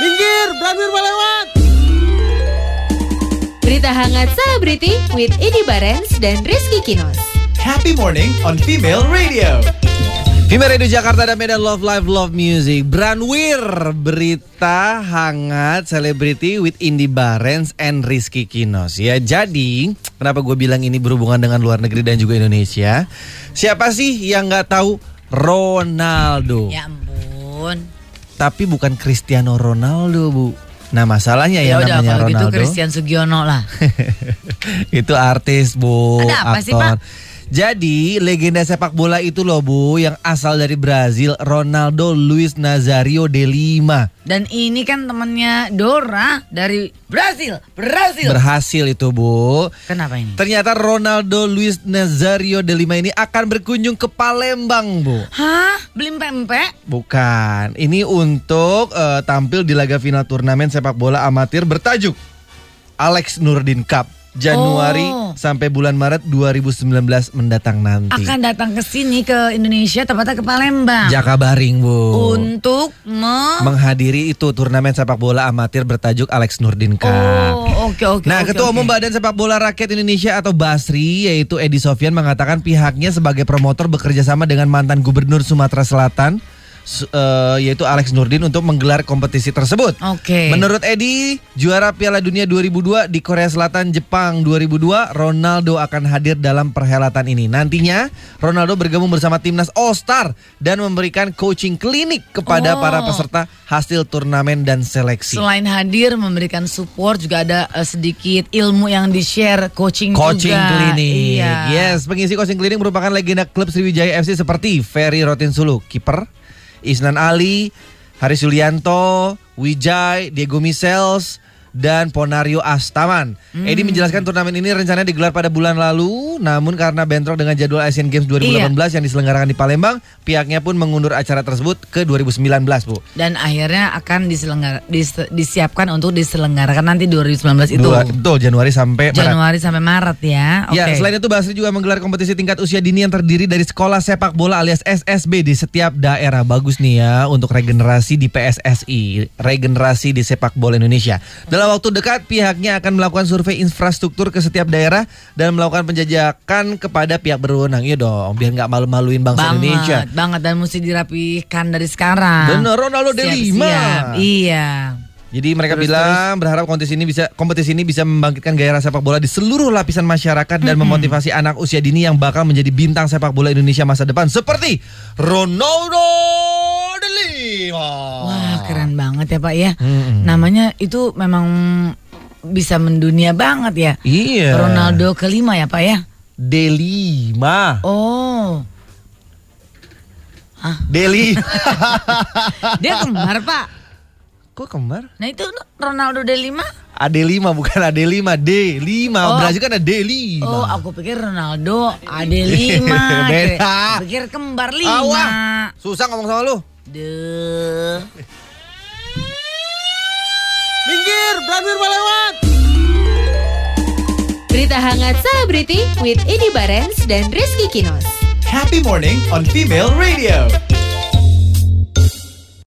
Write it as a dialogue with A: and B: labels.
A: Minggir, Branwir mau lewat.
B: Berita hangat selebriti with Edi Barens dan Rizky Kinos.
C: Happy morning on Female Radio.
A: Female Radio Jakarta dan Medan Love Live Love Music. Branwir, berita hangat selebriti with Indi Barens and Rizky Kinos. Ya, jadi kenapa gue bilang ini berhubungan dengan luar negeri dan juga Indonesia? Siapa sih yang nggak tahu Ronaldo?
D: Ya ampun.
A: Tapi bukan Cristiano Ronaldo, Bu. Nah, masalahnya ya,
D: Ya udah
A: namanya
D: kalau gitu
A: Ronaldo.
D: Christian Sugiono lah.
A: itu artis bu
D: Ada apa sih,
A: aktor.
D: Pak?
A: Jadi legenda sepak bola itu loh bu yang asal dari Brazil Ronaldo Luis Nazario de Lima
D: Dan ini kan temennya Dora dari Brasil. Brasil.
A: berhasil itu bu.
D: Kenapa ini?
A: Ternyata Ronaldo Luis Nazario de Lima ini akan berkunjung ke Palembang bu.
D: Hah? Beli pempe?
A: Bukan, ini untuk eh, tampil di laga final turnamen sepak bola amatir bertajuk Alex Nurdin Cup Januari
D: Oh.
A: sampai bulan Maret 2019 mendatang nanti.
D: Akan datang ke sini ke Indonesia tepatnya ke Palembang.
A: Ya Jakabaring bu.
D: Untuk me
A: menghadiri itu turnamen sepak bola amatir bertajuk Alex Nurdin Cup.
D: Oh, oke oke.
A: Nah,
D: oke,
A: Ketua
D: oke.
A: Umum Badan Sepak Bola Rakyat Indonesia atau Basri yaitu Edi Sofian mengatakan pihaknya sebagai promotor bekerja sama dengan mantan Gubernur Sumatera Selatan su- eh, yaitu Alex Nurdin untuk menggelar kompetisi tersebut.
D: Oh. Oke.
A: Menurut Edi, juara Piala Dunia 2002 di Korea Selatan, Jepang 2002, Ronaldo akan hadir dalam perhelatan ini. Nantinya, Ronaldo bergabung bersama timnas All Star dan memberikan coaching klinik kepada
D: Oh.
A: para peserta hasil turnamen dan seleksi.
D: Selain hadir memberikan support juga ada eh, sedikit ilmu yang di-share coaching,
A: Coaching
D: juga.
A: klinik,
D: Iya.
A: yes. Pengisi coaching klinik merupakan legenda klub Sriwijaya FC seperti Ferry Rotinsulu, kiper, Isnan Ali, Haris Yulianto, Wijay, Diego Misels, dan Ponario Astaman.
D: Hmm.
A: Edi menjelaskan turnamen ini rencananya digelar pada bulan lalu, namun karena bentrok dengan jadwal Asian Games
D: Iya.
A: 2018 yang diselenggarakan di Palembang, pihaknya pun mengundur acara tersebut ke 2019, Bu.
D: Dan akhirnya akan diselenggar, dis- disiapkan untuk diselenggarakan nanti 2019 itu.
A: Dua- betul, Januari sampai Maret.
D: Januari sampai Maret ya. Oke.
A: Ya, selain itu Basri juga menggelar kompetisi tingkat usia dini yang terdiri dari sekolah sepak bola alias SSB di setiap daerah. Bagus nih ya untuk regenerasi di PSSI, regenerasi di sepak bola Indonesia. Dalam waktu dekat pihaknya akan melakukan survei infrastruktur ke setiap daerah dan melakukan penjajakan kepada pihak berwenang. Iya dong, biar nggak malu-maluin bangsa
D: banget,
A: Indonesia.
D: banget dan mesti dirapihkan dari sekarang.
A: Bener, Ronaldo de Lima.
D: Siap-siap, Iya.
A: Jadi mereka bilang berharap kompetisi ini bisa kompetisi ini bisa membangkitkan gairah sepak bola di seluruh lapisan masyarakat dan memotivasi anak usia dini yang bakal menjadi bintang sepak bola Indonesia masa depan seperti Ronaldo de Lima.
D: Wah, keren banget ya, Pak ya.
A: Oh. Mm-mm.
D: Namanya itu memang bisa mendunia banget ya.
A: Iya.
D: Ronaldo kelima ya, Pak ya.
A: de Lima.
D: Oh,
A: Deli.
D: dia kembar, Pak.
A: Kok kembar?
D: Nah, itu Ronaldo de Lima.
A: Ade 5 bukan Ade 5, D 5.
D: Oh.
A: Berarti kan Ade 5.
D: Oh, aku pikir Ronaldo ada lima.
A: Beda.
D: Aku pikir kembar lima.
A: Susah ngomong sama lu.
D: Duh.
A: Minggir, Branwir mau lewat.
B: Berita hangat selebriti with Edi Barens dan Rizky Kinos.
C: Happy morning on Female Radio.